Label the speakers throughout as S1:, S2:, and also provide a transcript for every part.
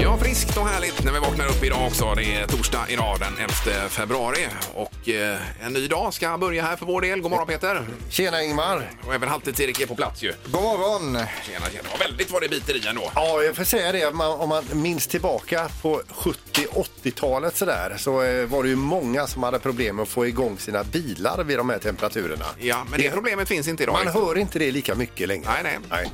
S1: Ja, friskt och härligt när vi vaknar upp idag också. Det är torsdag idag den 11 februari och eh, en ny dag ska börja här för vår del. God morgon Peter!
S2: Tjena Ingmar!
S1: Och även Halvtids-Erik är på plats ju.
S2: God morgon!
S1: Tjena, tjena. Vad väldigt vad det biter i ändå.
S2: Ja, jag får säga det, man, om man minns tillbaka på 70-80-talet sådär så eh, var det ju många som hade problem med att få igång sina bilar vid de här temperaturerna.
S1: Ja, men det problemet finns inte idag.
S2: Man hör inte det lika mycket längre.
S1: Nej, nej.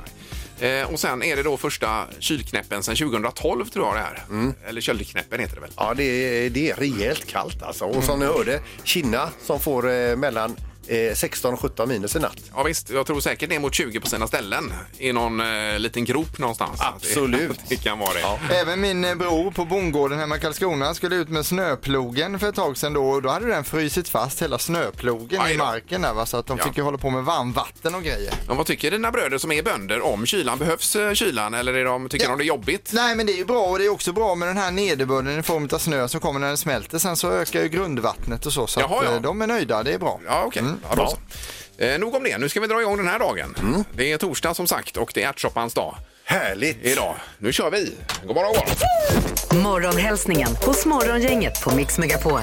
S1: Eh, och sen är det då första kylknäppen sedan 2012 tror jag det här.
S2: Mm.
S1: Eller köldknäppen heter det väl.
S2: Ja, det är, det är rejält kallt alltså. Och som ni hörde, Kina som får eh, mellan eh, 16 och 17 minus i natt.
S1: Ja visst, jag tror säkert ner mot 20 på sina ställen i någon eh, liten grop någonstans.
S2: Absolut.
S1: Det, kan vara det.
S3: Även min eh, bror på bondgården hemma i Karlskrona skulle ut med snöplogen för ett tag sedan då och då hade den frysit fast hela snöplogen
S1: Aj
S3: i
S1: då.
S3: marken där va så att de
S1: Ja.
S3: fick ju hålla på med varmvatten och grejer.
S1: Men vad tycker dina bröder som är bönder om kylan? Behövs eh, kylan eller är de, tycker
S3: Ja.
S1: de det är jobbigt?
S3: Nej men det är ju bra och det är också bra med den här nederbörden i form av snö som kommer när den smälter. Sen så ökar ju grundvattnet och så så
S1: Jaha,
S3: att, eh,
S1: ja.
S3: de är nöjda, det är bra.
S1: Ja, okej. Ja, då så. Eh, nog om det. Nu ska vi dra igång den här dagen. Det är torsdag som sagt och det är ärtsoppans dag
S2: Härligt!
S1: idag. Nu kör vi! God morgon, god morgon.
S4: Morgonhälsningen hos Morgongänget på Mix Megapol.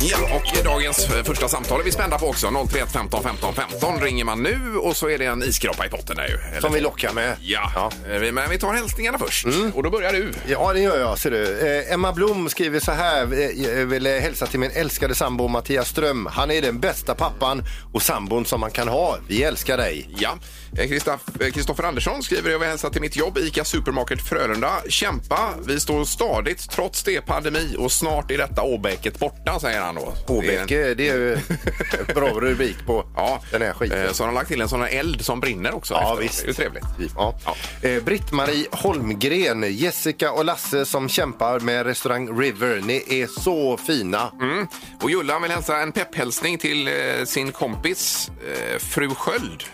S1: Ja, och i dagens eh, första samtal är vi spända på också. 031 15 15 15 ringer man nu och så är det en iskroppa i potten där ju. Eller-
S2: Som vi lockar med.
S1: Ja, Eh, vi- men vi tar hälsningarna först. Och då börjar du.
S2: Ja, det gör jag. Ser du. Eh, Emma Blom skriver så här. eh, Jag vill eh, hälsa till min älskade sambo Mattias Ström. Han är den bästa pappan och sambon som man kan ha. Vi älskar dig.
S1: Ja. Eh, Kristaff- eh, Kristoffer Andersson skriver jag vill hälsa till mitt jobb ICA Supermarket Frölunda. Kämpa, vi står stadigt trots det pandemi och snart är detta åbäket borta, säger han då. Det är en-
S2: Åbäke, det är ju en bra rubrik på
S1: Ja,
S2: den här skiten.
S1: eh, Så har de lagt till en sån här eld som brinner också.
S2: Ja,
S1: efteråt.
S2: visst.
S1: Det är ju trevligt.
S2: Ja.
S1: Ja.
S2: Eh, Britt-Marie Holmgren, Jessica och Lasse som kämpar med restaurang River. Ni är så fina.
S1: Mm. Och Julla vill hälsa en pepphälsning till eh, sin kompis eh, fru Sköld.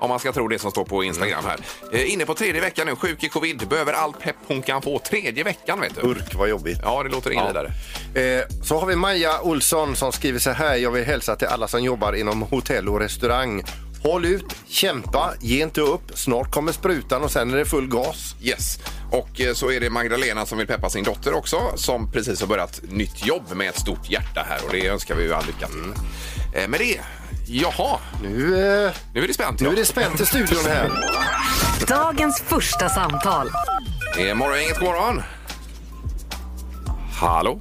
S1: Om man ska tro det som står på Instagram här.
S2: Mm.
S1: Eh, inne på tredje veckan nu, sjuk i covid, behöver all pepp hon kan få. Tredje veckan vet du.
S2: Urk, vad jobbigt.
S1: Ja, det låter inget vidare.
S2: Eh, Så har vi Maja Olsson som skriver så här. Jag vill hälsa till alla som jobbar inom hotell och restaurang. Håll ut, kämpa, ge inte upp. Snart kommer sprutan och sen är det full gas.
S1: Yes. Och eh, så är det Magdalena som vill peppa sin dotter också som precis har börjat nytt jobb med ett stort hjärta här och det önskar vi ju all lycka till. Eh, Med det, jaha,
S2: Nu, eh,
S1: nu är det spänt.
S2: nu
S1: ja.
S2: är det spänt i studion här.
S4: Dagens första samtal.
S1: Det är Eh, morgongänget, god morgon. Hallå?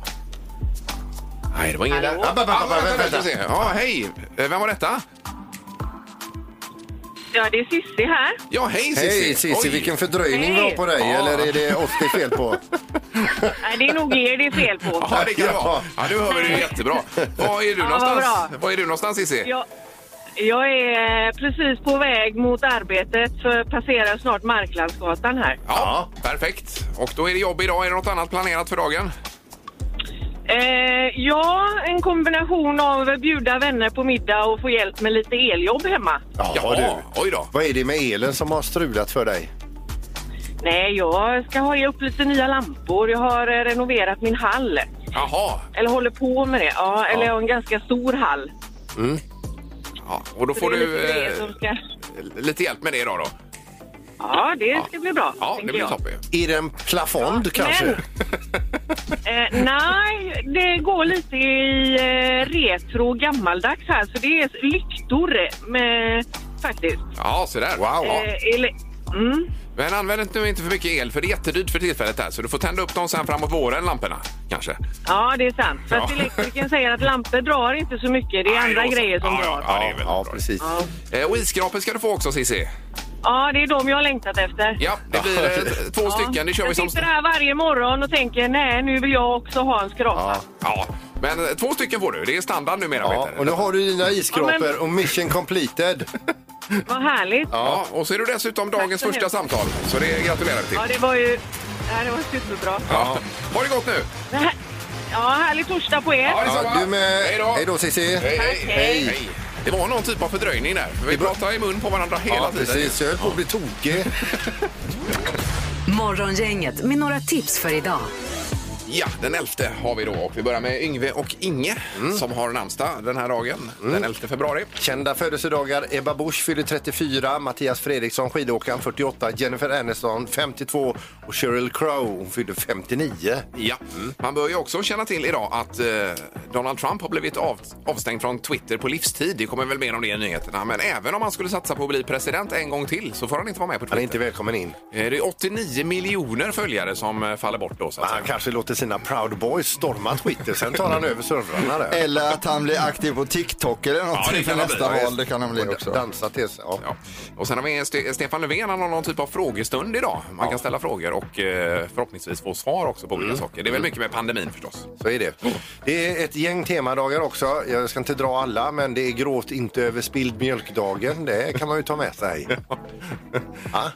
S1: Nej, det var ingen där.
S2: App, app, app,
S1: Ja,
S2: app,
S1: vänta,
S2: vänta,
S1: vänta, vänta. Ja, hej! Eh, Vem var detta?
S5: Ja, det är Sissi här.
S1: Ja, hej Cissi!
S2: Hej Cissi,
S1: Oj.
S2: vilken fördröjning vi har på dig.
S1: Hej.
S2: Eller är det oss det är fel på?
S5: Nej, det är nog er det är fel på.
S1: Ja, det kan det
S2: Ja.
S1: vara. Ja, du hör vi det ju jättebra. Var är du
S5: vad
S1: någonstans?
S5: bra.
S1: Var är du någonstans Cissi?
S5: Jag, jag är precis på väg mot arbetet för passerar snart Marklandsgatan här.
S1: Ja, perfekt. Och då är det jobb idag. Är det något annat planerat för dagen?
S5: Eh, ja, en kombination av att bjuda vänner på middag och få hjälp med lite eljobb hemma.
S2: Ja, du.
S1: Oj då.
S2: Vad är det med elen som har strulat för dig?
S5: Nej, jag ska ha upp lite nya lampor. Jag har eh, renoverat min hall.
S1: Jaha.
S5: Eller håller på med det. Ja, eller jag har en ganska stor hall.
S1: Ja, och då
S5: Så
S1: får
S5: det är
S1: du
S5: lite det
S1: eh,
S5: som ska...
S1: lite hjälp med det idag då.
S5: Ja, det ska bli bra.
S1: Ja, det
S5: tänker
S1: blir
S5: jag.
S1: toppen.
S2: Är det en plafond kanske?
S5: Eh, nej, det går lite i eh, retro och gammaldags här. Så det är lyktor med, faktiskt.
S1: Ja, så där. Wow.
S5: Eh, ele- mm.
S1: Men använd inte- nu inte för mycket el för det är jättedyrt för tillfället här. Så du får tända upp dem sen framåt våren, lamporna. Kanske.
S5: Ja, det är sant. Fast
S1: Ja.
S5: elektrikern säger att lampor drar inte så mycket. Det är
S1: Nej,
S5: andra
S1: då så.
S5: grejer som
S1: ja,
S5: drar.
S1: Ja, ja, det är väl
S2: Ja,
S1: bra.
S2: precis.
S5: Ja.
S1: Eh, Och isskrapor ska du få också Cissi.
S5: ja, det är de jag har längtat efter.
S1: Ja, det blir eh, t- två stycken. Det kör vi
S5: jag
S1: som...
S5: sitter här varje morgon och tänker nej, nu vill jag också ha en skrapa.
S2: Ja.
S1: Ja, men eh, två stycken får du. Det är standard numera
S2: Ja,
S1: Peter.
S2: och nu har du dina
S5: Ja,
S2: iskroppor
S5: men-
S2: och mission completed.
S5: Vad härligt. Ja.
S1: Ja, och så är du dessutom dagens
S5: så mycket.
S1: första samtal. Så det gratulerar vi till.
S5: det var ju... Ja, det var superbra.
S1: Ja. Ha det gott nu!
S5: Det här... Ja, härlig torsdag på er.
S2: Ja, du med.
S1: Hej då.
S2: Hej då Cissi.
S1: Hej, hej,
S5: Tack,
S1: hej.
S5: hej.
S1: Hej. Det var någon typ av fördröjning där. Vi pratar i mun på varandra hela
S2: Ja,
S1: tiden.
S2: precis. Jag höll på att bli tokig.
S4: Morgongänget med några tips för idag.
S1: Ja, den 11 har vi då och vi börjar med Yngve och Inge
S2: Mm.
S1: som har namnsdag den här dagen, den 11 februari.
S2: Kända födelsedagar. Ebba Busch fyller 34, Mattias Fredriksson skidåkaren 48, Jennifer Aniston 52 och Sheryl Crow hon fyllde 59.
S1: Ja.
S2: Mm.
S1: Man bör ju också känna till idag att eh, Donald Trump har blivit av, avstängd från Twitter på livstid. Det kommer väl mer om det i nyheterna. Men även om han skulle satsa på att bli president en gång till så får han inte vara med på
S2: Han är
S1: Twitter.
S2: inte välkommen in.
S1: Eh, Det är 89 miljoner följare som eh, faller bort då. Så att
S2: Han
S1: säga.
S2: kanske låter sina Proud Boys storma Twitter, sen tar han över servrarna där.
S3: Eller att han blir aktiv på TikTok eller
S1: Ja, det
S3: någonting
S1: kan
S3: för
S1: han bli.
S3: nästa
S1: Ja,
S3: val. Det kan han bli
S2: Och
S3: också.
S2: dansa tills... Ja.
S1: Ja. Och sen har vi Ste- Stefan Löfven, han har någon typ av frågestund idag. Man kan ställa frågor och eh, förhoppningsvis få svar också på olika
S2: Mm.
S1: saker. Det är väl mycket med pandemin förstås.
S2: Så är det. Det är ett gäng temadagar också. Jag ska inte dra alla, men det är gråt inte över spilld mjölkdagen. Det kan man ju ta med sig.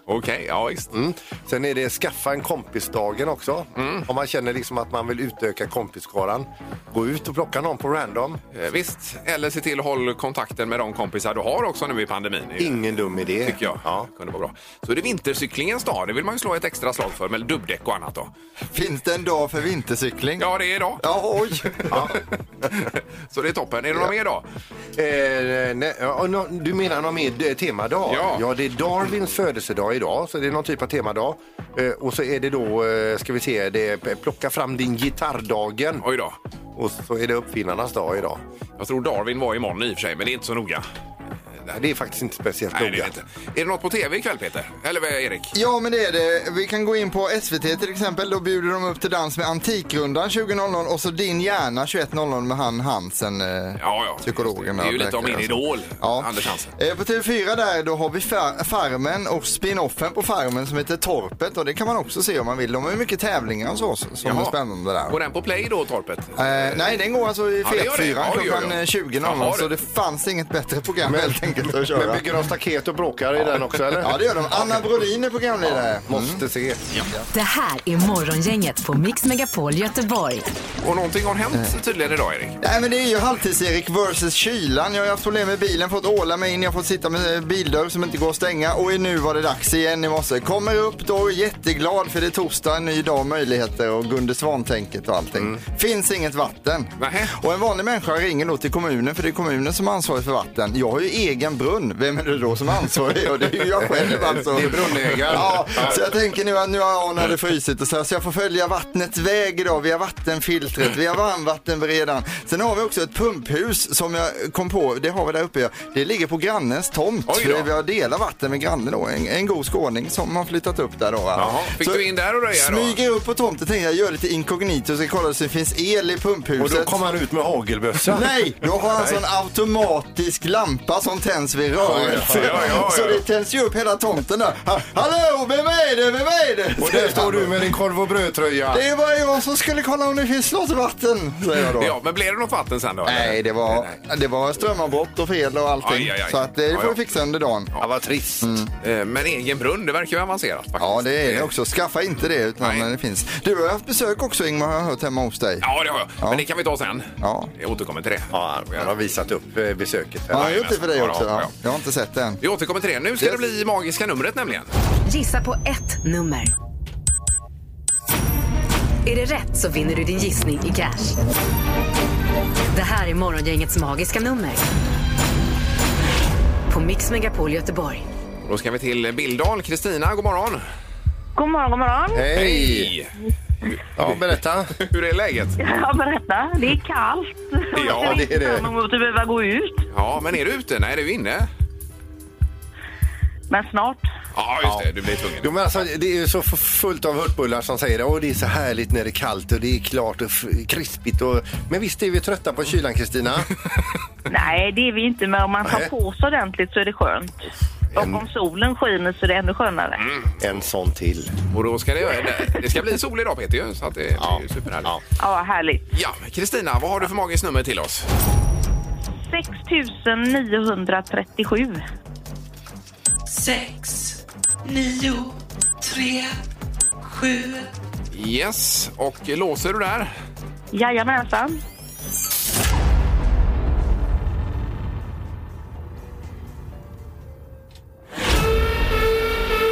S1: Okej, ja visst.
S2: Mm. Sen är det skaffa en kompisdagen också.
S1: Mm.
S2: Om man känner liksom att man vill utöka kompisskaran. Gå ut och plocka någon på random.
S1: Eh, Visst, eller se till att hålla kontakten med de kompisar du har också nu i pandemin. Det är ju-
S2: Ingen dum idé.
S1: tycker jag.
S2: Ja.
S1: Det kunde vara bra. Så är det vintercyklingens dag. Det vill man ju slå ett extra slag för med dubbdäck och annat då.
S3: Finns det en dag för vintercykling?
S1: Ja, det är idag.
S3: Ja, oj!
S1: Så det är toppen. Är det någon mer dag?
S2: Eh, nej, ja, nå- du menar någon mer eh, temadag?
S1: Ja.
S2: det är Darwins födelsedag idag, så det är någon typ av temadag. Eh, och så är det då, eh, ska vi se, det är p- plocka fram din gitarrdagen.
S1: Oj då.
S2: Och så är det uppfinnarnas dag idag.
S1: Jag tror Darwin var imorgon i och för sig, men det är inte så noga.
S2: Nej, Det är faktiskt inte speciellt
S1: Nej, det är,
S2: noga.
S1: det inte. är det något på tv ikväll, Peter? Eller eh, Erik?
S3: Ja, men det är det. Vi kan gå in på SVT till exempel. Då bjuder de upp till dans med Antikrundan 20.00 och så Din hjärna 21.00 med han Hansen, eh,
S1: Ja, ja.
S3: psykologen.
S1: Det är ju
S3: och
S1: lite om min
S3: läkaren.
S1: idol,
S3: Ja.
S1: Anders Hansen.
S3: Eh, På TV4 där då har vi Far- Farmen och spin-offen på Farmen som heter Torpet och det kan man också se om man vill. De har ju mycket tävlingar och så som är
S1: Jaha.
S3: spännande där.
S1: Går den på play då, Torpet?
S3: Eh, nej, den går alltså i
S1: Ja, det gör det.
S3: Fet4
S1: Oj, oj, oj.
S3: klockan eh, 20.00
S1: Jaha,
S3: så
S1: du.
S3: det fanns inget bättre program helt enkelt att
S2: Men
S3: köra.
S2: bygger de staket och bråkar i den också eller?
S3: Ja, det gör de. Anna Brodin är programledare.
S2: Måste se.
S4: Det här är Morgongänget på Mix Megapol Göteborg.
S1: Och någonting har
S3: eh.
S1: hänt tydligen idag, Erik.
S3: Nej men det är ju halvtids-Erik versus kylan. Jag har haft problem med bilen, fått åla mig in, jag har fått sitta med eh, bildörr som inte går att stänga och nu var det dags igen i morse. Kommer upp då, jätteglad för det är torsdag, en ny dag och möjligheter och Gunde Svan-tänket och allting. Finns inget vatten.
S1: Nähä.
S3: Och en vanlig människa ringer då till kommunen för det är kommunen som är ansvarig för vatten. Jag har ju egen brunn, vem är det då som är ansvarig? Och det är ju jag själv alltså.
S2: Det är brunnägaren.
S3: Ja, så jag tänker nu att nu har hon hade frusit och så, här, så jag får följa vattnets väg idag. Vi har vattenfiltret, vi har varmvattenberedaren. Sen har vi också ett pumphus som jag kom på, det har vi där uppe. ja. Det ligger på grannens tomt.
S1: Oj då.
S3: För vi har delat vatten med grannen då, en, en god skåning som har flyttat upp där då. va.
S1: Jaha, fick
S3: Så
S1: du in där och röja då?
S3: Smyger upp på tomten, tänker jag gör lite inkognito, så kollar så det finns el i
S2: Och
S3: pumphuset.
S2: då kommer han ut med hagelbössa.
S3: Nej, då har han en sån automatisk lampa som tänds vid rörelse.
S1: Ja, ja, ja, ja.
S3: Så det tänds ju upp hela tomten där. Ha- Hallå, vem är det, vem är det?
S2: Och där står du med din korv och brödtröja.
S3: Det var jag som skulle kolla om det finns något vatten, säger jag då.
S1: Ja, men blev det något vatten sen då? eller?
S3: Nej, det var, det var strömavbrott och fel och allting.
S1: Aj, aj, aj.
S3: Så att eh, det
S1: Ja,
S3: får
S1: ja.
S3: vi fixa under dagen.
S2: Ja, vad trist.
S1: Eh, Men egen brunn, det verkar ju avancerat faktiskt.
S3: Mm. Ja, det är det också. Skaffa inte det utan
S1: Nej.
S3: när det finns. Du har haft besök också Ingmar, har jag hört hemma hos dig.
S1: Ja, det har jag. Men det kan vi ta sen.
S3: Ja.
S1: Jag återkommer till det.
S2: Ja, han har visat upp eh, besöket.
S3: Ja, jag har gjort det för dig
S1: Ja,
S3: också.
S1: ja,
S3: Ja.
S1: ja.
S3: Jag har inte sett det än.
S1: Vi återkommer till det. Nu ska
S3: Yes.
S1: det bli magiska numret nämligen.
S4: Gissa på ett nummer. Är det rätt så vinner du din gissning i cash. Det här är Morgongängets magiska nummer. På Mix Megapol Göteborg.
S1: Då ska vi till Bildal. Kristina, god morgon.
S5: God morgon, god morgon.
S2: Hej! Ja, berätta.
S1: Hur är läget?
S5: Ja, berätta. Det är kallt.
S1: Ja,
S5: Jag ser
S2: det är
S5: inte
S2: det.
S5: fram emot att behöva gå ut,
S1: Ja, men är du ute? Nej, du är inne.
S5: men snart.
S1: Ja, just det. Du blir tvungen.
S2: Jo, men alltså, det är ju så f- fullt av hurtbullar som säger att det är så härligt när det är kallt och det är klart och f- krispigt. Och... Men visst är vi trötta på kylan, Kristina?
S5: Nej, det är vi inte, men om man
S2: Nej.
S5: tar på sig ordentligt så är det skönt.
S2: En-
S5: Och om solen skiner så är det ännu skönare.
S2: En sån till.
S1: Och då ska det, det ska bli sol idag, Peter. ju, Så att det, det är ju superhärligt.
S5: Ja, härligt.
S1: Ja, Kristina, vad har du för magiskt nummer till oss?
S5: 6 937.
S6: sex, nio, tre, sju.
S1: Yes, och låser du där?
S5: Jajamensan.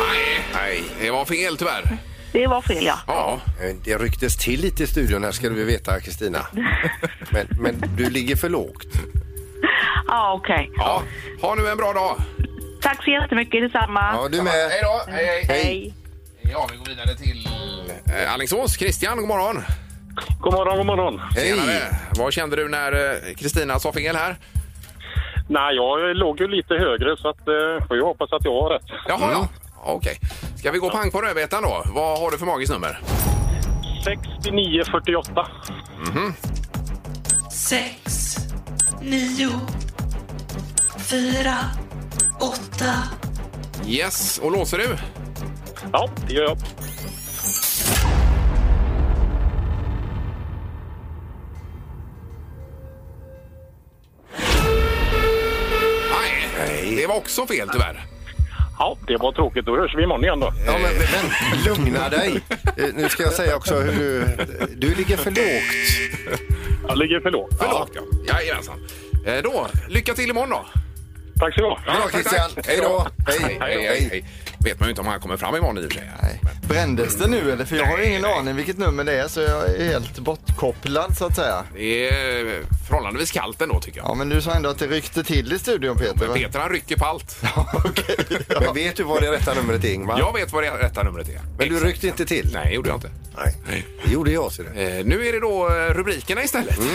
S1: Nej, nej, det var fel tyvärr.
S7: Det var fel, ja.
S1: Ja.
S2: Eh, Det rycktes till lite i studion här ska du veta Kristina. Men, men du ligger för lågt.
S7: Ja, okej.
S1: ja. Ha nu en bra dag.
S7: Tack så jättemycket, detsamma.
S2: Ja, du med.
S1: Hej då. Hej, hej.
S7: Hej.
S1: Ja, vi går vidare till eh, Alingsås. Christian, god morgon.
S8: God morgon, god morgon.
S1: Tjenare. Vad kände du när eh, Kristina sa fel här?
S8: Nej, jag låg ju lite högre så att, eh, får jag hoppas att jag har rätt.
S1: Jaha, ja. Okej. Ska vi gå pang på rödbetan då? Vad har du för magiskt nummer?
S8: 6948.
S6: 6, 9, 4, 8,
S1: Yes, och låser du?
S8: Ja, det gör jag.
S1: Nej, det var också fel tyvärr.
S8: Ja, det var tråkigt. Då hörs vi imorgon igen då.
S2: Ja, men, men lugna dig. Eh, Nu ska jag säga också hur du... Du ligger för lågt.
S8: Jag ligger för lågt.
S1: För lågt ja. Jajamensan. Eh, Då, lycka till imorgon då.
S8: Tack så du ha.
S2: Bra
S1: tack,
S2: Christian.
S1: tack.
S2: Hej då. Hej.
S1: Hej, hej, hej. Vet man ju inte om han kommer fram imorgon i och för sig.
S3: Nej. Brändes det nu eller? För jag har ju ingen aning vilket nummer det är så jag är helt bortkopplad så att säga.
S1: Det är eh, förhållandevis kallt ändå tycker jag.
S3: Ja men du sa ändå att det ryckte till i studion Peter va?
S1: Peter han rycker på allt.
S3: Okej.
S2: Men vet du vad det rätta numret är Ingmar?
S1: Jag vet vad det rätta numret är.
S2: Men du ryckte inte till?
S1: Nej, gjorde jag inte.
S2: Nej. Det gjorde jag ser du.
S1: Eh, Nu är det då eh, rubrikerna istället. Mm.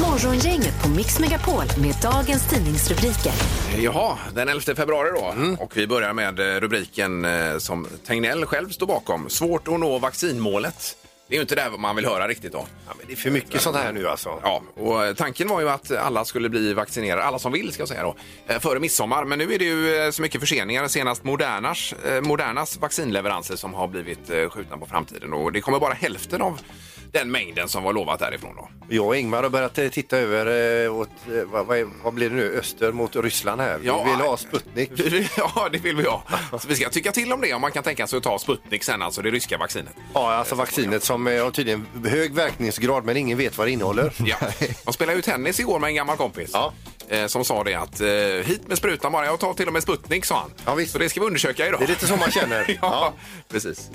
S4: Morgongänget på Mix Megapol med dagens tidningsrubriker.
S1: Jaha, den 11 februari då. Och vi börjar med eh, rubriken eh, som Tegnell själv står bakom. Svårt att nå vaccinmålet. Det är ju inte det man vill höra riktigt då.
S2: Ja, men det är för mycket sånt här nu alltså.
S1: Ja, och eh, tanken var ju att alla skulle bli vaccinerade, alla som vill ska jag säga då, eh, före midsommar. Men nu är det ju eh, så mycket förseningar, senast Modernas, eh, Modernas vaccinleveranser som har blivit eh, skjutna på framtiden. Och det kommer bara hälften av den mängden som var lovat därifrån då.
S2: Jag och Ingmar har börjat eh, titta över, eh, åt, eh, vad, vad, är, vad blir det nu, öster mot Ryssland här.
S1: Ja.
S2: Vi vill ha Sputnik.
S1: Ja, det vill vi ha. Så vi ska tycka till om det om man kan tänka sig att ta Sputnik sen, alltså det ryska vaccinet.
S2: Ja, alltså vaccinet som eh, har tydligen hög verkningsgrad men ingen vet vad det innehåller.
S1: Ja. Man spelade ju tennis igår med en gammal kompis.
S2: Ja.
S1: Eh, Som sa det att eh, hit med sprutan bara, jag tar till och med Sputnik sa han.
S2: Ja, visst.
S1: Så det ska vi undersöka idag.
S2: Det är lite så man känner.
S1: ja, precis.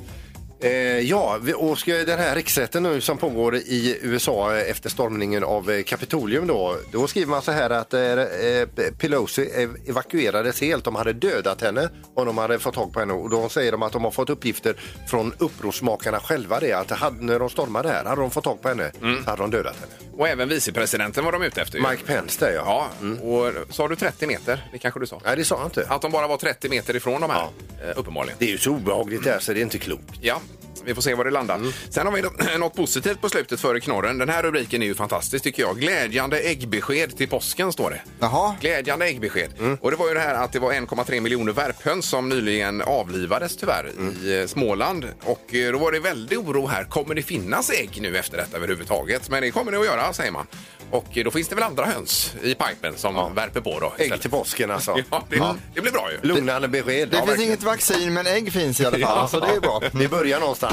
S2: Eh, ja, vi- och ska den här riksrätten nu som pågår i USA eh, efter stormningen av eh, Kapitolium då. Då skriver man så här att eh, eh, Pelosi ev- evakuerades helt. De hade dödat henne om de hade fått tag på henne. Och då säger de att de har fått uppgifter från upprorsmakarna själva det. Att hade, när de stormade här hade de fått tag på henne så hade de dödat henne.
S1: Och även vicepresidenten var de ute efter. ju.
S2: Mike Pence där ja.
S1: Ja, och sa du 30 meter? Det kanske du sa?
S2: Nej, det sa jag inte.
S1: Att de bara var 30 meter ifrån de här, eh, uppenbarligen.
S2: Det är ju så obehagligt där så det är inte klokt.
S1: Ja, vi får se var det landar. Sen har vi då- något positivt på slutet före knorren. Den här rubriken är ju fantastisk tycker jag. Glädjande äggbesked till påsken står det.
S3: Jaha.
S1: Glädjande äggbesked.
S2: Mm.
S1: Och det var ju det här att det var 1,3 miljoner värphöns som nyligen avlivades tyvärr
S2: Mm.
S1: i eh, Småland. Och eh, då var det väldigt oro här. Kommer det finnas ägg nu efter detta överhuvudtaget? Men det kommer det att göra säger man. Och eh, då finns det väl andra höns i pipen som värper på då.
S2: Ägg
S1: istället.
S2: till påsken alltså.
S1: Ja, det, det blir bra ju.
S2: Lugnande besked.
S3: Det
S2: Ja,
S3: finns
S2: verkligen.
S3: inget vaccin men ägg finns i alla fall så det är bra.
S2: Vi börjar någonstans.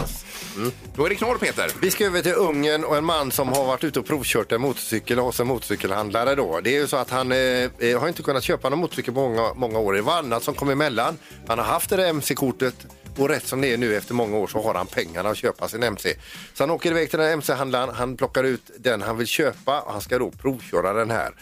S1: Då är det knorr Peter.
S2: Vi ska över till Ungern och en man som har varit ute och provkört en motorcykel hos en motorcykelhandlare. Då. Det är ju så att han eh, eh, har inte kunnat köpa någon motorcykel på många, många år. Det var annat som kom emellan. Han har haft det där mc-kortet och rätt som det är nu efter många år så har han pengarna att köpa sin mc. Så han åker iväg till den här mc-handlaren, han plockar ut den han vill köpa och han ska då provköra den här.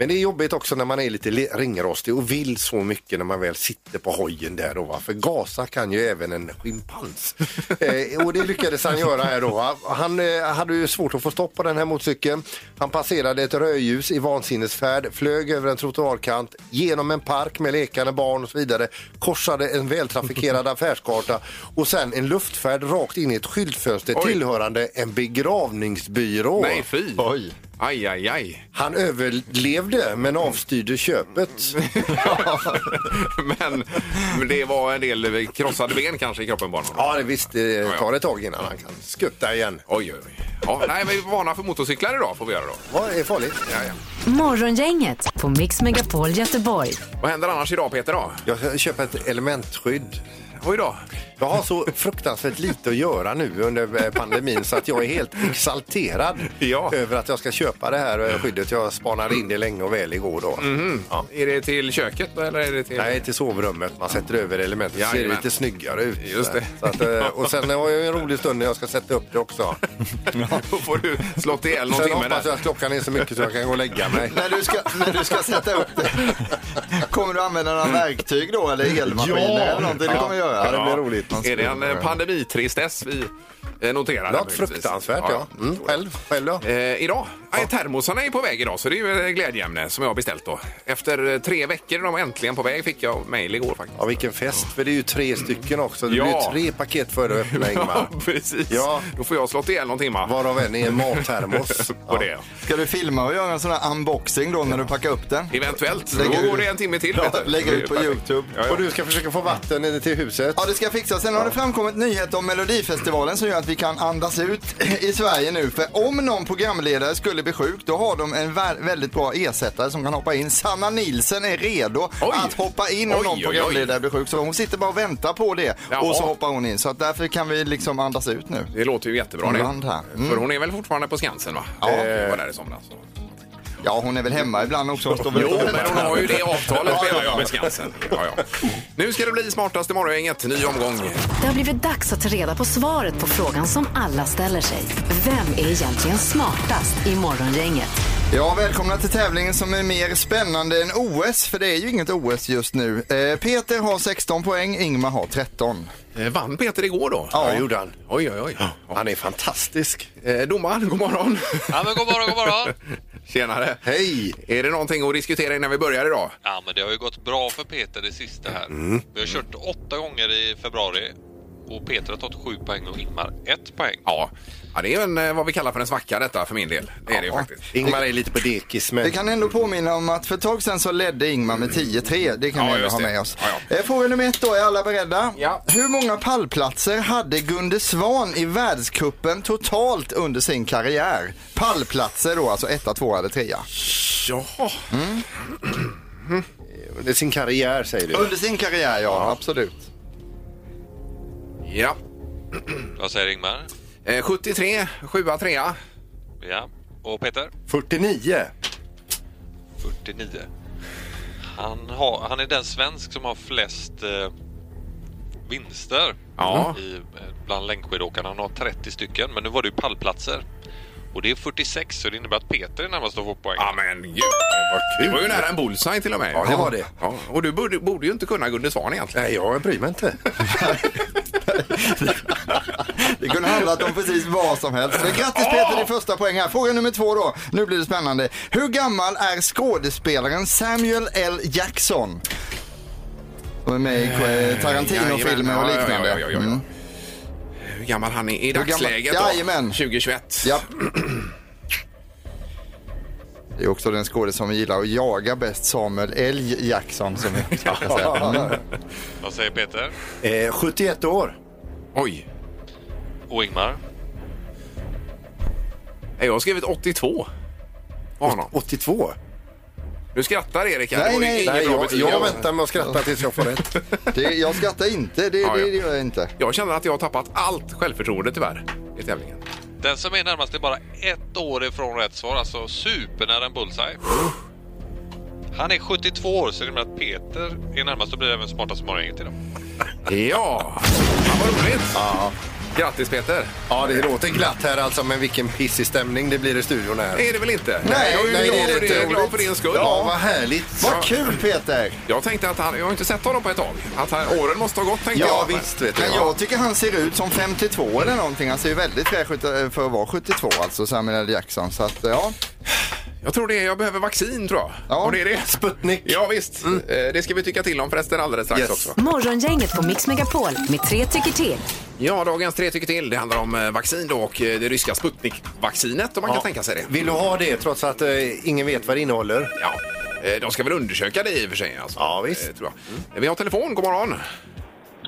S2: Men det är jobbigt också när man är lite le- ringrostig och vill så mycket när man väl sitter på hojen där då. Va? För gasa kan ju även en schimpans. eh, och det lyckades han göra här då. Va? Han eh, hade ju svårt att få stopp på den här motorcykeln. Han passerade ett rödljus i vansinnesfärd, flög över en trottoarkant, genom en park med lekande barn och så vidare, korsade en vältrafikerad affärskarta och sen en luftfärd rakt in i ett skyltfönster
S1: Oj.
S2: tillhörande en begravningsbyrå.
S1: Nej, fy.
S3: Oj.
S1: Aj, aj, aj.
S2: Han överlevde men avstyrde köpet.
S1: men, men det var en del krossade ben kanske i kroppen bara.
S2: Ja, det visst. Det tar ett tag innan han kan skutta igen.
S1: Oj, oj, oj. Ja, nej, men vi varnar för motorcyklar idag får vi göra då.
S2: Vad är farligt?
S1: Ja, ja.
S4: Morgongänget på Mix Megapol Göteborg.
S1: Vad händer annars idag Peter då?
S2: Jag ska köpa ett elementskydd.
S1: Oj då.
S2: Jag har så fruktansvärt lite att göra nu under eh, pandemin så att jag är helt exalterad
S1: Ja.
S2: över att jag ska köpa det här eh, skyddet. Jag spanade in det länge och väl igår då.
S1: Ja. Är det till köket då, eller är det till...
S2: Nej, till sovrummet. Man sätter över elementet. så ser det
S1: Jajamän.
S2: lite snyggare ut.
S1: Just det.
S2: Så att, eh, och sen har jag ju en rolig stund när jag ska sätta upp det också.
S1: Då får du slå ihjäl någon
S2: Sen
S1: timme
S2: hoppas jag
S1: där.
S2: att klockan är så mycket så jag kan gå och lägga mig.
S3: När du, ska, när du ska sätta upp det, kommer du använda några verktyg då eller elmaskiner
S2: Ja.
S3: eller någonting? Du kommer göra.
S2: Ja, det blir roligt.
S3: Man
S1: Är det en
S3: skulle-
S1: eh, pandemitristess vi eh, noterar? här
S2: Något
S1: möjligtvis?
S2: fruktansvärt, ja. Mm, själv, själv då?
S1: Eh, idag? Ja. Termosarna är på väg idag så det är ju eh, glädjeämne som jag har beställt då. Efter eh, tre veckor är de äntligen på väg fick jag mejl igår faktiskt.
S2: Ja, vilken fest. För det är ju tre stycken också. Det blir
S1: Ja.
S2: ju tre paket för att öppna, Ingmar.
S1: precis.
S2: Ja.
S1: Då får jag slå ihjäl någon timma.
S2: Varav en är en mattermos.
S1: På det.
S3: Ska du filma och göra en sån här unboxing då när du packar upp den?
S1: Eventuellt.
S3: Lägger
S1: Då går
S3: ut-
S1: det en timme till.
S3: Ja,
S1: vet du.
S3: lägger
S1: Det är
S3: ut på
S1: perfekt.
S3: Youtube.
S1: Ja, ja.
S2: Och du ska försöka få vatten in till huset.
S3: Ja, det ska fixas. Sen har det framkommit nyheter om Melodifestivalen som gör att vi kan andas ut i Sverige nu. För om någon programledare skulle bli sjuk, då har de en vä- väldigt bra ersättare som kan hoppa in. Sanna Nilsen är redo
S1: Oj.
S3: att hoppa in om
S1: Oj,
S3: någon
S1: oj,
S3: programledare blir sjuk. Så hon sitter bara och väntar på det
S1: Jaha.
S3: och så hoppar hon in. Så att därför kan vi liksom andas ut nu.
S1: Det låter ju jättebra det.
S3: Ibland här. Mm.
S1: För hon är väl fortfarande på Skansen va?
S3: Ja.
S1: Eh, Var där i somras.
S3: Ja, hon är väl hemma ibland också. Hon står väl
S1: Jo,
S3: och
S1: men hon har ju det avtalet
S3: Ja,
S1: menar
S3: ja.
S1: jag med Skansen. Ja, ja. Nu ska det bli smartaste morgongänget. Ny omgång.
S4: Det har blivit dags att ta reda på svaret på frågan som alla ställer sig. Vem är egentligen smartast i Morgongänget?
S3: Ja, välkomna till tävlingen som är mer spännande än OS, för det är ju inget OS just nu. Eh, Peter har 16 poäng, Ingmar har 13.
S1: Eh, Vann Peter igår då?
S2: Ja, det gjorde han.
S1: Oj, oj, oj.
S2: Han är fantastisk.
S1: Eh, domaren, god morgon.
S9: Ja, men god morgon, god morgon.
S1: Tjenare.
S2: Hej!
S1: Är det någonting att diskutera innan vi börjar idag?
S9: Ja, men det har ju gått bra för Peter det sista här.
S2: Mm.
S9: Vi har kört åtta gånger i februari och Peter har tagit sju poäng och Ingmar ett poäng.
S1: Ja. ja det är ju en, eh, vad vi kallar för en svacka detta för min del. Det är det ju faktiskt.
S2: Ingmar är lite på dekis, men
S3: Vi kan ändå påminna om att för ett tag sedan så ledde Ingmar med 10-3. Det
S1: Ja,
S3: kan vi ändå
S1: just
S3: ha
S1: det.
S3: med oss.
S1: Ja, ja.
S3: Eh, Fråga nummer ett då, är alla beredda?
S1: Ja.
S3: Hur många pallplatser hade Gunde Svan i världscupen totalt under sin karriär? Pallplatser då, alltså etta, tvåa eller trea.
S1: Jaha.
S2: det är sin karriär säger du.
S3: Under sin karriär, ja, absolut.
S1: Ja.
S9: Vad säger Ingmar?
S1: Eh, 73, 7 3
S9: Ja. Och Peter?
S2: 49.
S9: 49. Han, har, han är den svensk som har flest eh, vinster
S1: Ja.
S9: i, eh, bland längdskidåkarna. Han har 30 stycken, men nu var det ju pallplatser. Och det är 46, så det innebär att Peter är närmast att få poäng.
S1: Ja men gud. Det var ju nära en bullseye till och med.
S2: Ja, det var det.
S1: Ja. Och du borde, borde ju inte kunna Gunde Svan egentligen.
S2: Nej, jag bryr mig inte.
S3: Det kunde ha handlat om precis vad som helst. Men grattis Peter, din första poäng här. Fråga nummer två då. Nu blir det spännande. Hur gammal är skådespelaren Samuel L. Jackson? Som är med i eh, Tarantino-filmer och
S1: Ja, ja,
S3: liknande.
S1: ja, ja, ja, ja.
S3: Mm.
S1: Hur gammal han är i
S3: gammal-
S1: dagsläget
S3: Jajamän.
S1: då? 2021.
S3: Ja. Det är också den skådespelare som gillar att jaga bäst, Samuel L. Jackson. Som vi brukar säga. Mm.
S9: Vad säger Peter?
S2: Eh, 71 år.
S1: Oj.
S9: Och Ingmar?
S1: Jag har skrivit 82. på Honom.
S2: 82.
S1: Nu skrattar Erik. här.
S3: Nej,
S1: Det var ju
S3: nej,
S1: ingen
S2: Nej,
S1: bra
S2: jag,
S1: betyg.
S2: jag väntar med att skratta tills jag får rätt.
S3: Det, jag skrattar inte, det,
S1: Ja,
S3: det,
S1: ja.
S3: det gör jag inte.
S1: Jag känner att jag har tappat allt självförtroende tyvärr i tävlingen.
S9: Den som är närmast är bara ett år ifrån rätt svar, alltså supernära en bullseye. Han är 72 år, så det innebär att Peter är närmast och blir även smartast i morgongänget idag.
S1: Ja, Fan, vad roligt! Grattis Peter!
S2: Ja, det låter glatt här alltså, men vilken pissig stämning det blir i studion här.
S1: Det är det väl inte?
S3: Nej,
S1: jag är ju
S3: nej,
S1: glad,
S3: det är
S1: för
S3: det
S1: din-
S3: inte.
S1: glad för din skull.
S2: Ja, vad härligt.
S3: Vad kul Peter!
S1: Jag tänkte att han, jag har inte sett honom på ett tag. Att han, åren måste ha gått tänkte
S2: Ja,
S1: jag.
S2: visst vet
S3: Men
S2: jag.
S3: jag tycker han ser ut som 52 eller någonting. Han ser ju väldigt fräsch ut eh, för att vara 72 alltså, Samuel L. Jackson. Så att, eh, ja.
S1: Jag tror det är, jag behöver vaccin tror jag.
S3: Ja.
S1: Och det är det.
S2: Sputnik. Mm.
S1: Ja visst, Eh, det ska vi tycka till om förresten alldeles strax
S2: Yes.
S1: också.
S4: Morgongänget på Mix Megapol med tre tycker till.
S1: Ja, dagens tre tycker till. Det handlar om eh, vaccin då och eh, det ryska Sputnik-vaccinet om man kan tänka sig det.
S2: Vill du ha det trots att eh, ingen vet vad det innehåller?
S1: Ja, eh, de ska väl undersöka det i och för sig. Alltså.
S2: Ja, visst.
S1: Eh, Tror jag. Eh, Vi har telefon, god morgon.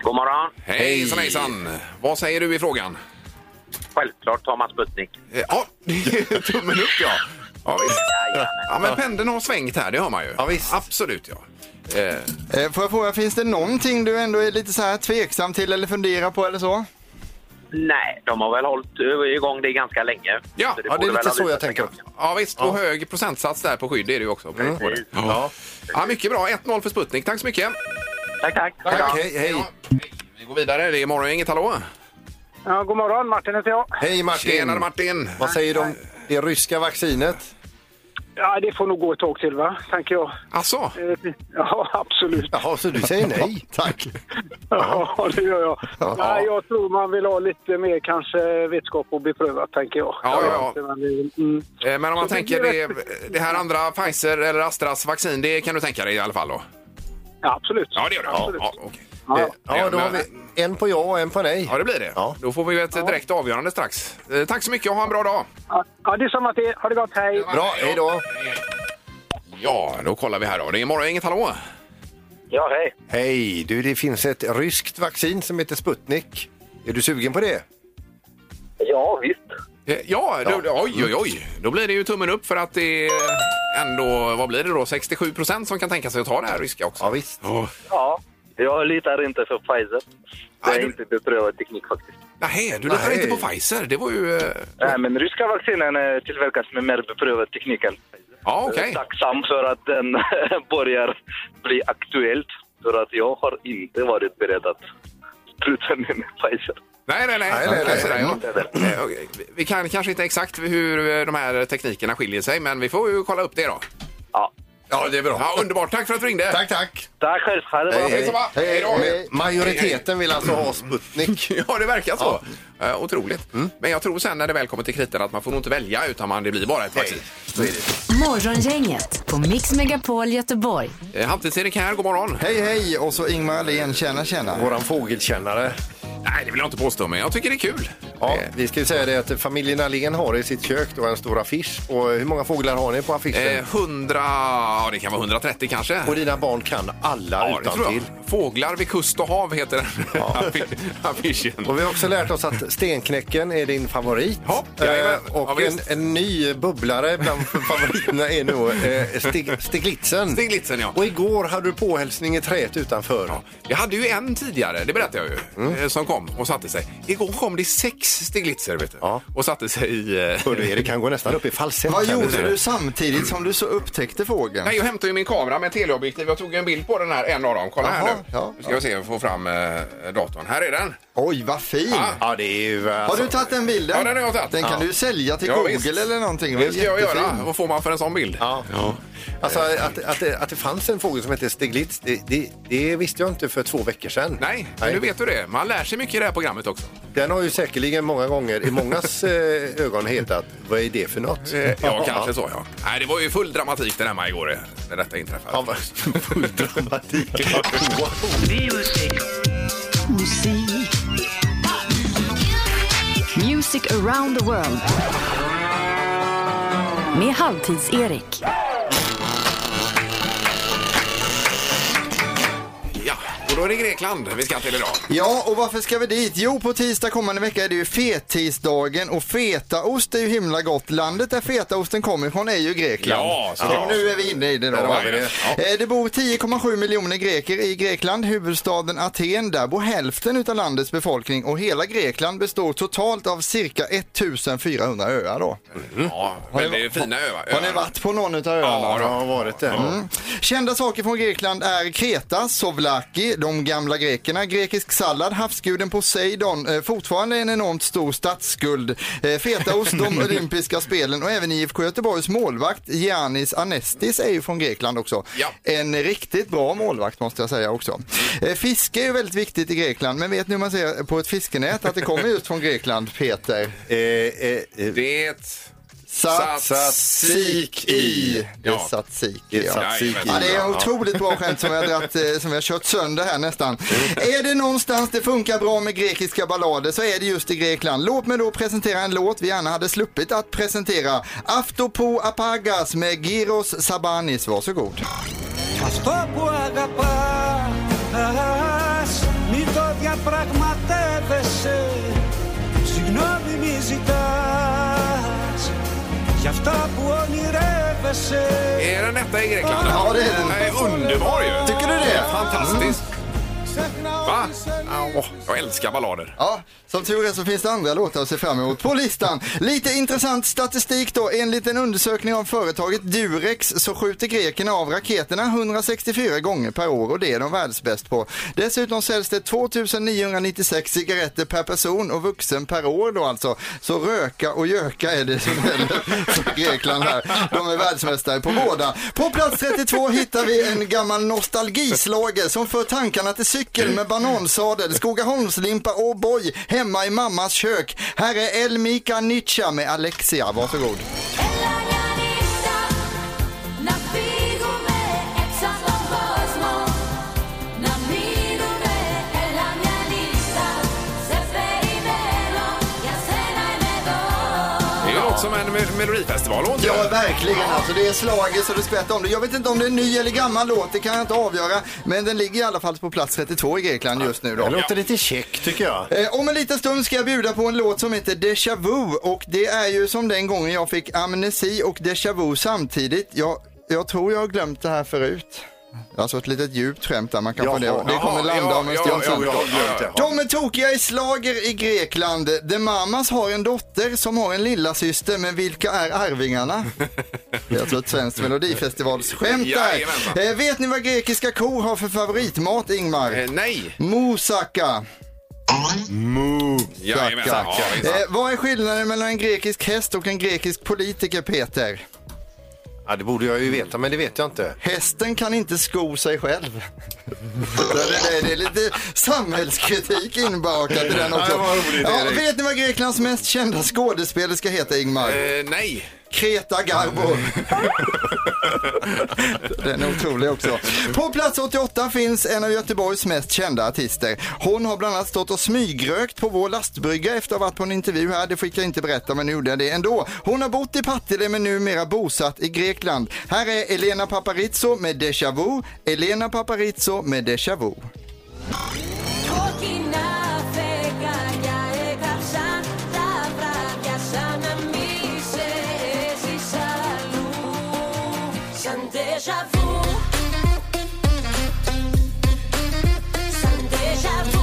S8: God morgon.
S1: Hejsan hejsan. Vad säger du i frågan?
S8: Självklart tar man Sputnik.
S1: Eh, Ja, tummen upp ja. Ja, visst. ja men pendeln har svängt här, det hör man ju.
S2: Ja, visst.
S1: Absolut ja. Eh,
S3: Eh, Får jag fråga, finns det någonting du ändå är lite så här tveksam till eller funderar på eller så?
S5: Nej, de har väl hållit eh, igång det ganska länge.
S1: Ja,
S5: Så
S2: Ja, det
S5: borde
S2: är
S5: väl
S2: lite
S5: ha
S2: så jag
S5: visat sig
S2: tänker.
S5: ganska
S1: ja Mm. visst, och hög procentsats där på skydd är det ju också. På på det.
S2: Ja.
S1: Ja, mycket bra, 1-0 för Sputnik. Tack så mycket.
S5: Tack, tack.
S2: Tack, hej, hej.
S1: Ja, hej. Vi går vidare, det är Morgongänget, hallå?
S8: Ja, god morgon, Martin heter jag.
S2: Hej Martin.
S1: Tjenare Martin!
S2: Vad säger du om det ryska vaccinet?
S8: Ja, det får nog gå ett tag till, va? tänker jag.
S1: Alltså,
S8: Jag vet inte. Ja, absolut.
S2: Jaha, så du säger nej? Tack.
S8: Ja, det gör jag. Nej, jag tror man vill ha lite mer kanske vetskap och beprövat, tänker jag.
S1: Ja, ja, ja.
S8: Jag vet inte, men, mm.
S1: eh, men om man
S8: Så
S1: tänker
S8: det
S1: det,
S8: är-
S1: det här andra Pfizer eller Astras vaccin, det kan du tänka dig i alla fall då?
S8: Ja, absolut.
S1: Ja, det gör du? Ja,
S8: Absolut.
S1: ja, okej.
S8: Ja.
S1: Eh,
S2: Ja, då har
S1: men-
S2: vi en på ja och en på nej.
S1: ja, det blir det.
S2: Ja.
S1: Då får vi ju ett direkt avgörande strax. Eh, Tack så mycket och ha en bra dag!
S8: Ja, ja, det är samma till. Ha det gott, hej!
S2: Bra, hej då.
S1: Ja, då kollar vi här då. Det är Morgongänget, hallå?
S5: Ja, hej.
S2: Hej, du det finns ett ryskt vaccin som heter Sputnik. Är du sugen på det?
S5: Ja, visst.
S1: Eh, Ja, Mm. då, oj, oj, oj. Då blir det ju tummen upp för att det är ändå, vad blir det då, 67 procent som kan tänka sig att ta det här ryska också.
S2: Ja, visst.
S1: Oh.
S5: Ja, jag litar inte för Pfizer. Det
S1: Nej,
S5: är
S1: du-
S5: inte beprövad teknik faktiskt.
S1: Nej, du litar
S2: Nej.
S1: inte på Pfizer. Det var ju... eh,
S5: Nej, men ryska vaccinen eh, tillverkas med mer beprövad teknik än Pfizer.
S8: Ε,
S1: Ja,
S5: Jag
S1: okej.
S5: är Tacksam för att den börjar bli aktuellt. För att jag har inte varit beredd att spruta mig med Pfizer.
S1: Nej, nej, nej.
S2: Nej, nej, nej.
S1: Sådär, ja. Eh, okej. Vi- Vi kan kanske inte exakt hur eh, de här teknikerna skiljer sig, men vi får ju kolla upp det då.
S5: Ja.
S2: Ja, det är bra.
S1: Ja, underbart. Tack för att du ringde.
S2: Tack, tack.
S5: Tack själv. Ha
S2: Ε,
S5: det bra.
S1: Hej så bra. Hej då.
S2: Men Majoriteten vill alltså ha Sputnik.
S1: Ja, det verkar så. Eh, otroligt.
S2: Mm.
S1: Men jag tror sen när det väl kommer till kritan att man får nog inte välja utan man, det blir bara ett vaccin.
S4: Morgongänget på Mix Megapol Göteborg.
S1: Eh, Halvtids-Erik här, god morgon.
S3: Hej hej och så Ingmar Ahlén, tjena tjena.
S2: Våran fågelkännare.
S1: Nej, det vill jag inte påstå, men jag tycker det är kul. Eh,
S2: Ja, vi ska ju säga det att familjen Ahlén har i sitt kök då en stor affisch. Och hur många fåglar har ni på affischen?
S1: Eh, 100, ja, det kan vara 130 kanske.
S2: Och dina barn kan alla
S1: Ja, det tror
S2: utantill.
S1: jag. Fåglar vid kust och hav heter den affischen.
S2: Och vi har också lärt oss att stenknäcken är din favorit.
S1: Ja, jajamän.
S2: Eh, och
S1: Ja,
S2: en,
S1: visst.
S2: en ny bubblare bland favoriterna är nog eh, stig, Stiglitzen.
S1: Stiglitzen, ja.
S2: Och igår hade du påhälsning i träet utanför.
S1: Ja, jag hade ju en tidigare, det berättade jag ju,
S2: Mm.
S1: eh, som kom och satte sig. Igår kom det sex Stiglitzer vet du,
S2: Ja.
S1: och satte sig i... eh,
S2: Hör du, Erik, han går nästan upp i falsett.
S3: Vad
S2: här nu.
S3: gjorde du samtidigt som du så upptäckte fågeln?
S1: Nej, jag hämtade ju min kamera med teleobjektiv. Jag tog ju en bild på den här, en av dem. Kolla här
S3: Jaha,
S1: nu.
S3: ja,
S1: nu ska jag se om jag får fram eh, datorn. Här är den. Ah.
S3: Oj, vad fin!
S2: Ja, det är ju...
S3: Har
S2: Alltså,
S3: du tagit den bilden?
S1: Ja, den har jag tagit.
S3: Den kan
S1: Ja.
S3: du ju sälja till
S1: Ja,
S3: Google
S1: visst.
S3: eller någonting.
S1: Det ska jag
S3: Jättefin.
S1: göra. Vad får man för en sån bild?
S2: Ja. Alltså att, att, att det fanns en fågel som hette Stiglitz, det, det, det visste jag inte för två veckor sedan.
S1: Nej, men nu vet du det. Man lär sig mycket i det här programmet också.
S2: Den har ju säkerligen många gånger i mångas eh, ögon hetat vad är det för något?
S1: Eh, Ja, kanske så ja. Nej, det var ju full dramatik den hemma igår eh, när detta inträffade.
S2: Ja, vad- Full dramatik.
S4: Music around the world. Med Halvtids-Erik.
S1: Ja, och då är det Grekland vi ska till idag.
S3: Ja, och varför ska vi dit? Jo, på tisdag kommande vecka är det ju fettisdagen och fetaost är ju himla gott. Landet där fetaosten kommer ifrån är ju Grekland.
S1: Ja,
S3: så
S1: såklart.
S3: nu är vi inne i det då.
S1: Där har vi
S3: va?
S1: det.
S3: Eh, Det bor 10,7 miljoner greker i Grekland, huvudstaden Aten. Där bor hälften utav landets befolkning och hela Grekland består totalt av cirka 1400 öar då.
S2: Mm.
S1: Ja, men det är fina öar.
S3: Har ni varit på någon utav öarna?
S1: Ja,
S2: Ja, det har varit det. Mm.
S3: Kända saker från Grekland är Kreta, Sovlaki, de gamla grekerna, grekisk sallad, havsguden Poseidon, eh, fortfarande en enormt stor statsskuld, eh, fetaost, de olympiska spelen och även IFK Göteborgs målvakt Giannis Anestis är ju från Grekland också.
S1: Ja.
S3: En riktigt bra målvakt måste jag säga också. Eh, fiske är ju väldigt viktigt i Grekland, men vet ni hur man ser på ett fiskenät att det kommer just från Grekland, Peter?
S2: Eh, eh, eh,
S1: Det...
S3: Satsik i. Det är
S1: Ja.
S3: satsik i.
S2: det
S3: Ja.
S2: satt sig i.
S3: Ja, det är en otroligt bra skämt som jag, dratt, eh, som jag kört sönder här nästan. Är det någonstans det funkar bra med grekiska ballader så är det just i Grekland. Låt mig då presentera en låt vi gärna hade sluppit att presentera. Aftopo Apagas med Giros Sabanis. Varsågod.
S8: Συγγνώμη μη ζητάς για αυτά που ονειρεύεσαι
S1: Är den detta i Grekland?
S3: Ja, det är den.
S1: Nej, underbar ju!
S3: Tycker du det? Mm.
S1: Fantastiskt! Va? Åh, jag älskar ballader.
S3: Ja, som tur är så finns det andra låtar att se fram emot på listan. Lite intressant statistik då. Enligt en undersökning av företaget Durex så skjuter grekerna av raketerna 164 gånger per år och det är de världsbäst på. Dessutom säljs det 2996 cigaretter per person och vuxen per år då alltså. Så röka och göka är det som gäller för Grekland här. De är världsmästare på båda. På plats 32 hittar vi en gammal nostalgislager som för tankarna till cykel med banansadel, Skogaholmslimpa och boy hemma i mammas kök. Här är Elmika Nietzsche med Alexia, varsågod.
S1: Det är ju något som en me- melodifestivallåt.
S3: Ja, verkligen. Alltså, det är slaget så det sprätter om det. Jag vet inte om det är en ny eller gammal låt, det kan jag inte avgöra. Men den ligger i alla fall på plats 32 i Grekland just nu. Då.
S2: Det låter lite check tycker jag.
S3: Eh, om en liten stund ska jag bjuda på en låt som heter Deja Vu och det är ju som den gången jag fick amnesi och Deja Vu samtidigt. Jag, jag tror jag har glömt det här förut. Alltså ett litet djupt skämt där man kan
S2: Jaha,
S3: fundera. Det kommer
S1: jaha,
S3: landa
S1: ja,
S3: om en
S1: ja,
S3: stund
S1: ja,
S3: sen.
S1: ja, ja, ja.
S3: De är tokiga i slager i Grekland. The Mamas har en dotter som har en lilla syster, men vilka är arvingarna? Det är alltså ett svenskt melodifestivalsskämt där.
S1: Jajamensan.
S3: Eh, vet ni vad grekiska kor har för favoritmat, Ingmar?
S1: Eh, Nej.
S3: Moussaka.
S1: Jajamensan. Ja,
S3: Tackar.
S1: visst.
S3: Eh, vad är skillnaden mellan en grekisk häst och en grekisk politiker, Peter?
S2: Ja, det borde jag ju veta, men det vet jag inte.
S3: Hästen kan inte sko sig själv. Så det, det, det är lite samhällskritik inbakat i den också.
S2: Ja, vad roligt,
S3: Ja,
S2: Erik.
S3: vet ni vad Greklands mest kända skådespelerska heter, Ingmar?
S1: Eh, Nej.
S3: Kreta Garbo. Den är otrolig också. På plats 88 finns en av Göteborgs mest kända artister. Hon har bland annat stått och smygrökt på vår lastbrygga efter att ha varit på en intervju här. Det fick jag inte berätta men nu gjorde jag det ändå. Hon har bott i Partille men numera bosatt i Grekland. Här är Elena Paparizou med Deja Vu. Elena Paparizou med Deja Vu.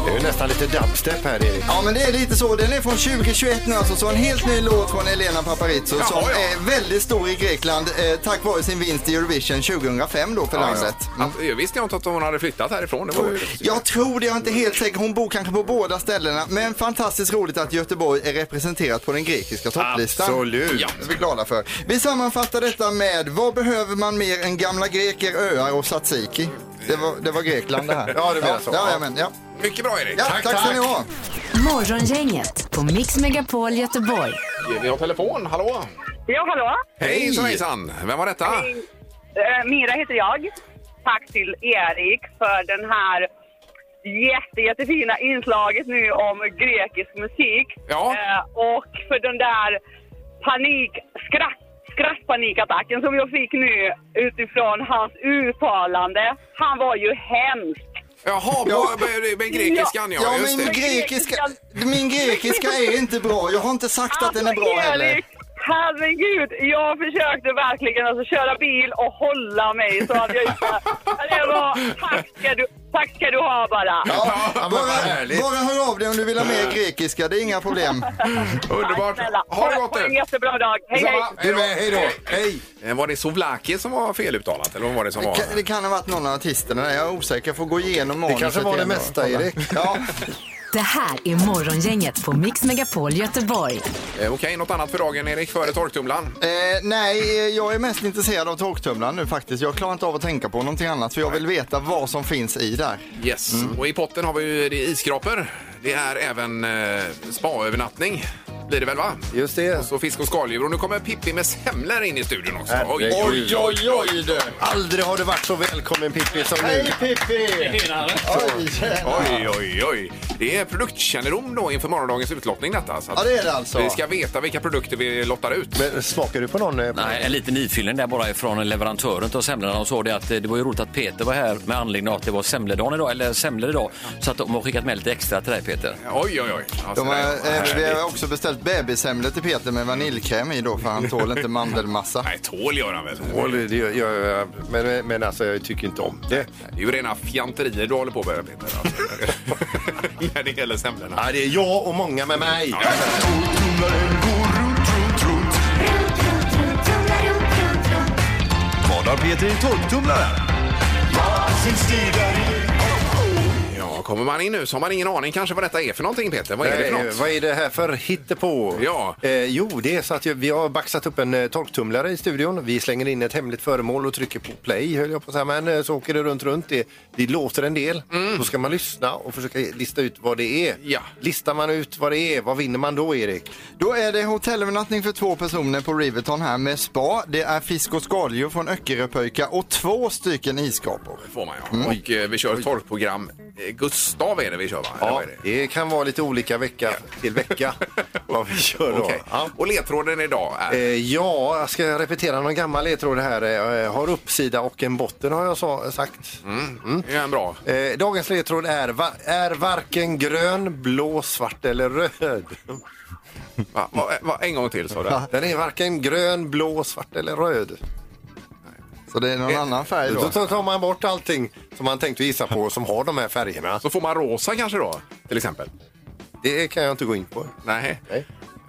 S2: Det är ju nästan lite dubstep här Erik.
S3: Ja men det är lite så. Den är från 2021 nu alltså. Så en helt ny låt från Elena Paparizou som
S1: Jaha, ja.
S3: är väldigt stor i Grekland eh, tack vare sin vinst i Eurovision 2005 då för landet. Mm.
S1: Att, Alltså, jag visste inte att hon hade flyttat härifrån. Det var ju...
S3: Jag tror det, jag är inte helt säker. Hon bor kanske på båda ställena. Men fantastiskt roligt att Göteborg är representerat på den grekiska topplistan.
S2: Absolut.
S3: Det är vi glada för. Vi sammanfattar detta med vad behöver man mer än gamla greker, öar och tzatziki? Det var, det var Grekland det här.
S2: Ja, du menar så.
S3: Ja, jajamän, ja.
S1: Mycket bra, Erik.
S3: Ja, tack, ska ni ha.
S4: Morgongänget på Mix Megapol Göteborg.
S1: Vi har telefon. Hallå!
S5: Ja, hallå?
S1: Hej, så hejsan! Vem var detta?
S5: Eh, Mira heter jag. Tack till Erik för den här jätte, jättefina inslaget nu om grekisk musik.
S1: Ja.
S5: Eh, och för den där panik, skratt, skrattpanikattacken som jag fick nu utifrån hans uttalande. Han var ju hemsk.
S1: Jaha,
S3: Ja.
S1: på, med, med grekiskan, ja.
S3: Ja,
S1: just
S3: min
S1: det.
S3: grekiska, min grekiska är inte bra. Jag har inte sagt att den är bra heller.
S5: Alltså, Erik, herregud, jag försökte verkligen alltså, köra bil och hålla mig så att jag inte... Det var, tack, ska du, tack ska du ha bara.
S3: Ja,
S2: men vad
S3: bara,
S2: härligt.
S3: bara hör av dig om du vill ha mer grekiska, det är inga problem.
S1: Underbart.
S5: Snälla.
S1: Ha det gott
S5: Ha en
S1: nu.
S5: jättebra dag. Hej, hej.
S1: Detsamma.
S2: Du med, hej då. Hej.
S1: Eh, Var det Sovlaki som var feluttalat, eller vad var det som
S3: Det
S1: var?
S3: Eh, kan, det kan ha varit någon av artisterna, jag är osäker. Jag får gå igenom manuset
S2: kanske var det
S3: igen och
S2: mesta,
S3: kolla.
S2: Erik.
S3: Ja.
S4: Det här är Morgongänget på Mix Megapol Göteborg.
S1: Eh, Okej, något annat för dagen, Erik, före torktumlaren?
S3: Eh, nej, eh, jag är mest intresserad av torktumlaren nu faktiskt. Jag klarar inte av att tänka på någonting annat för jag vill veta vad som finns i där.
S1: Yes.
S3: Mm.
S1: Och i potten har vi ju det är isskrapor. Det är även eh, spaövernattning. Blir det väl, va?
S2: Just det.
S1: Så fisk och skaldjur. Och nu kommer Pippi med semlor in i studion också.
S2: Herregud.
S3: Oj, oj, oj du!
S2: Aldrig har du varit så välkommen Pippi som nu.
S3: Hej Pippi! Oj, tjena.
S1: Oj, oj, oj. Det är produktkännedom då inför morgondagens utlottning detta. Så att
S3: Ja, det är det alltså.
S1: Vi ska veta vilka produkter vi lottar ut.
S2: Men smakar du på någon? eh,
S10: Nej, en liten nyfyllen där bara ifrån leverantören till semlorna. De sa det att eh, det var ju roligt att Peter var här med anledning av att det var semledagen idag, eller semlor idag. Så att de har skickat med lite extra till dig Peter.
S1: Oj, Alltså, oj, oj. Ja, så
S3: De har,
S1: där, ja.
S3: eh, vi har också beställt beställt bebissemlor till Peter med vaniljkräm i då för han tål inte mandelmassa.
S1: Nej, tål gör han väl?
S2: Tål, det gör, gör, jag, men, men alltså jag tycker inte om det.
S1: Det är ju rena fjanterier du håller på med, Peter. Alltså. När det gäller semlorna.
S2: Ja, det är jag och många med mig.
S11: Vad har Peter i torktumlaren?
S1: Ja, kommer man in nu så har man ingen aning kanske vad detta är för någonting, Peter. Vad är det för
S2: Nej,
S1: något?
S2: Eh, Vad är det här för hittepå?
S1: Ja.
S2: Eh, jo, det är så att jag- vi har baxat upp en eh, torktumlare i studion. Vi slänger in ett hemligt föremål och trycker på play, höll jag på att säga. Men eh, så åker det runt, runt. Det, det låter en del. Då ska man lyssna och försöka lista ut vad det är.
S1: Mm. Ja.
S2: Listar man ut vad det är, vad vinner man då, Erik?
S3: Då är det hotellövernattning för två personer på Riverton här med spa. Det är fisk och skaldjur från Öckeröpöjka och två stycken isskrapor.
S1: får man ja.
S2: Mm.
S1: Och eh, vi kör ett torkprogram. Eh, Gustav är det vi kör va? Eller
S2: Ja,
S1: vad är det?
S2: det kan vara lite olika vecka till vecka vad vi kör då.
S1: Okej.
S2: Ja.
S1: Och ledtråden idag är?
S2: Eh, ja, jag ska repetera någon gammal ledtråd här. Eh, har uppsida och en botten har jag sa, sagt.
S1: Det är en Mm, bra.
S2: Eh, dagens ledtråd är, va, är varken grön, blå, svart eller röd.
S1: Va, va, va, en gång till sa du.
S2: Den är varken grön, blå, svart eller röd.
S3: Så det är någon annan färg
S2: Eh, Då
S3: då.
S2: tar tar man bort allting som man tänkte gissa på som har de här färgerna.
S1: Så får man rosa kanske då, till exempel?
S2: Det kan jag inte gå in på.
S1: Nej.
S2: Nej.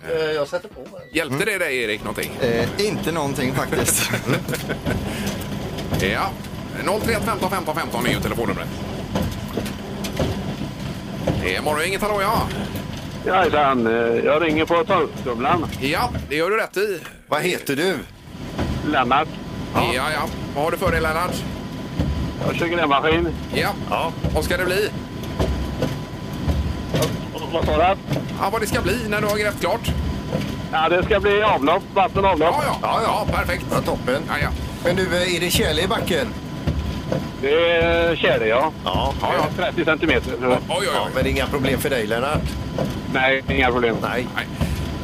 S2: Eh, jag sätter på den.
S1: Hjälpte det dig Erik någonting?
S3: Eh, inte någonting faktiskt.
S1: Ja. 031 15 15 15 är ju telefonnumret. Det är morgon, inget hallå ja.
S8: Jajsan, eh, jag ringer på torktumlaren.
S1: Ja, det gör du rätt i.
S2: Vad heter du?
S8: Lennart,
S1: Ja, ja. Vad har du för dig Lennart?
S8: jag har grävmaskin.
S1: Ja. ja. Vad ska det bli?
S8: Vad sa du?
S1: Ja, vad det ska bli när du har grävt klart.
S8: Ja, det ska bli avlopp, vatten och avlopp.
S1: Ja, ja. Ja, perfekt.
S2: Ja, toppen.
S1: Ja, ja.
S2: Men du, eh, är det tjäle i backen?
S8: Det är tjäle, ja.
S2: Ja.
S1: Ja, ja.
S8: 30 centimeter.
S1: Oj, oj,
S2: ja.
S1: oj.
S2: Men det är inga problem för dig, Lennart?
S8: Nej, inga problem.
S2: Nej.
S1: Nej.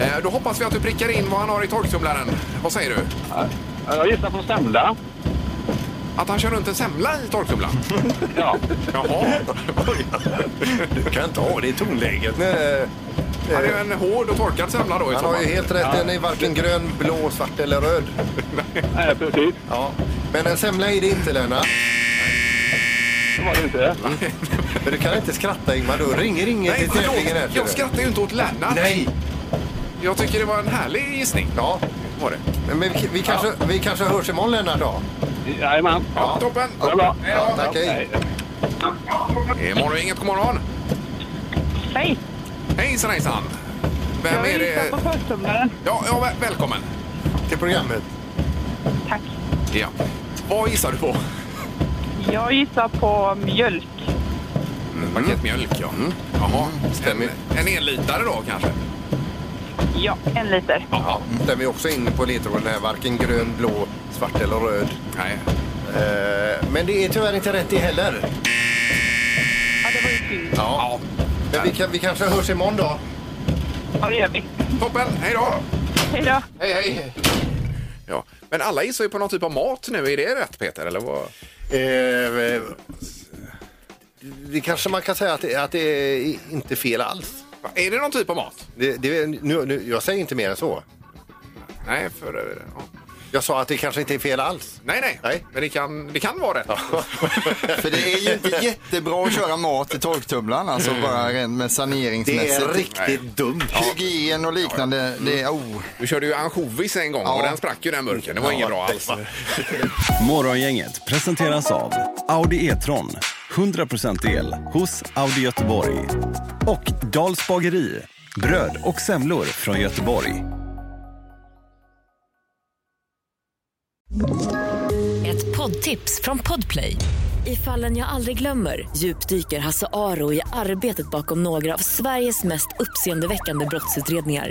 S1: Eh, Då hoppas vi att du prickar in vad han har i torktumlaren. Vad säger du?
S8: Jag gissar på semla.
S1: Att han kör runt en semla i torktumlaren?
S8: Ja.
S1: Jaha.
S2: Du kan inte ha det i tonläget. Nej.
S1: Ja, Det är ju en hård och torkad semla då i
S2: Han
S1: så
S2: har ju
S1: fall.
S2: helt rätt. Den är varken grön, blå, svart eller röd.
S8: Nej, precis.
S2: Ja. Men en semla är det inte, Lennart.
S8: Det var det inte.
S2: Men du kan inte skratta, Ingmar. Då ringer inget
S1: Nej,
S2: till tävlingen här.
S1: förlåt. Jag skrattar ju inte åt Lennart.
S2: Nej!
S1: Jag tycker det var en härlig gissning.
S2: Ja,
S1: Var det?
S2: men vi, vi, kanske, vi kanske hörs imorgon, Lennart. Då.
S8: Jajamän.
S1: Ja, toppen.
S8: Det är bra.
S1: Hej då.
S2: Tack, hej.
S1: Det är morgon, inget god morgon.
S5: Hej!
S1: Hejsan, hejsan. Vem
S5: Jag
S1: är
S5: vill lyssna på
S1: det?
S5: förtumlaren.
S1: Ja, ja, väl- välkommen.
S2: Till programmet.
S5: Tack.
S1: Ja. Vad gissar du på?
S5: Jag gissar på mjölk.
S1: Mm. Paketmjölk, ja. Jaha. En, en enlitare då kanske?
S5: Ja, en liter.
S1: Ja.
S2: Där vi också är inne på ledtråden här. Varken grön, blå, svart eller röd.
S1: Nej.
S2: Eh, men det är tyvärr inte rätt det heller.
S5: Ja, det var ju synd.
S1: Ja.
S2: Men vi, kan, vi kanske hörs imorgon då.
S5: Ja, det gör vi.
S1: Toppen, hej då.
S5: Hej då!
S1: Hej, hej. Ja. Men alla gissar ju på någon typ av mat nu. Är det rätt Peter? Eller vad?
S2: Eh, eh, det kanske man kan säga att det, att det är inte fel alls.
S1: Är det någon typ av mat?
S2: Det, det, nu, nu, jag säger inte mer än så.
S1: Nej, för... Ja.
S2: Jag sa att det kanske inte är fel alls.
S1: Nej, nej,
S2: Nej.
S1: Men det kan, det kan vara rätt.
S3: För det är ju inte jättebra att köra mat i torktumlaren, alltså bara rent med
S2: Det
S3: saneringsmässigt.
S2: är riktigt dumt.
S3: Hygien och liknande, det är... Oh.
S1: Du körde ju ansjovis en gång och den sprack ju den burken. Det var inget bra alls.
S11: Morgongänget presenteras av Audi E-tron. 100% el hos Audi Göteborg. Och Dals bageri. Bröd och semlor från Göteborg.
S4: Ett poddtips från Podplay. I fallen jag aldrig glömmer djupdyker Hasse Aro i arbetet bakom några av Sveriges mest uppseendeväckande brottsutredningar.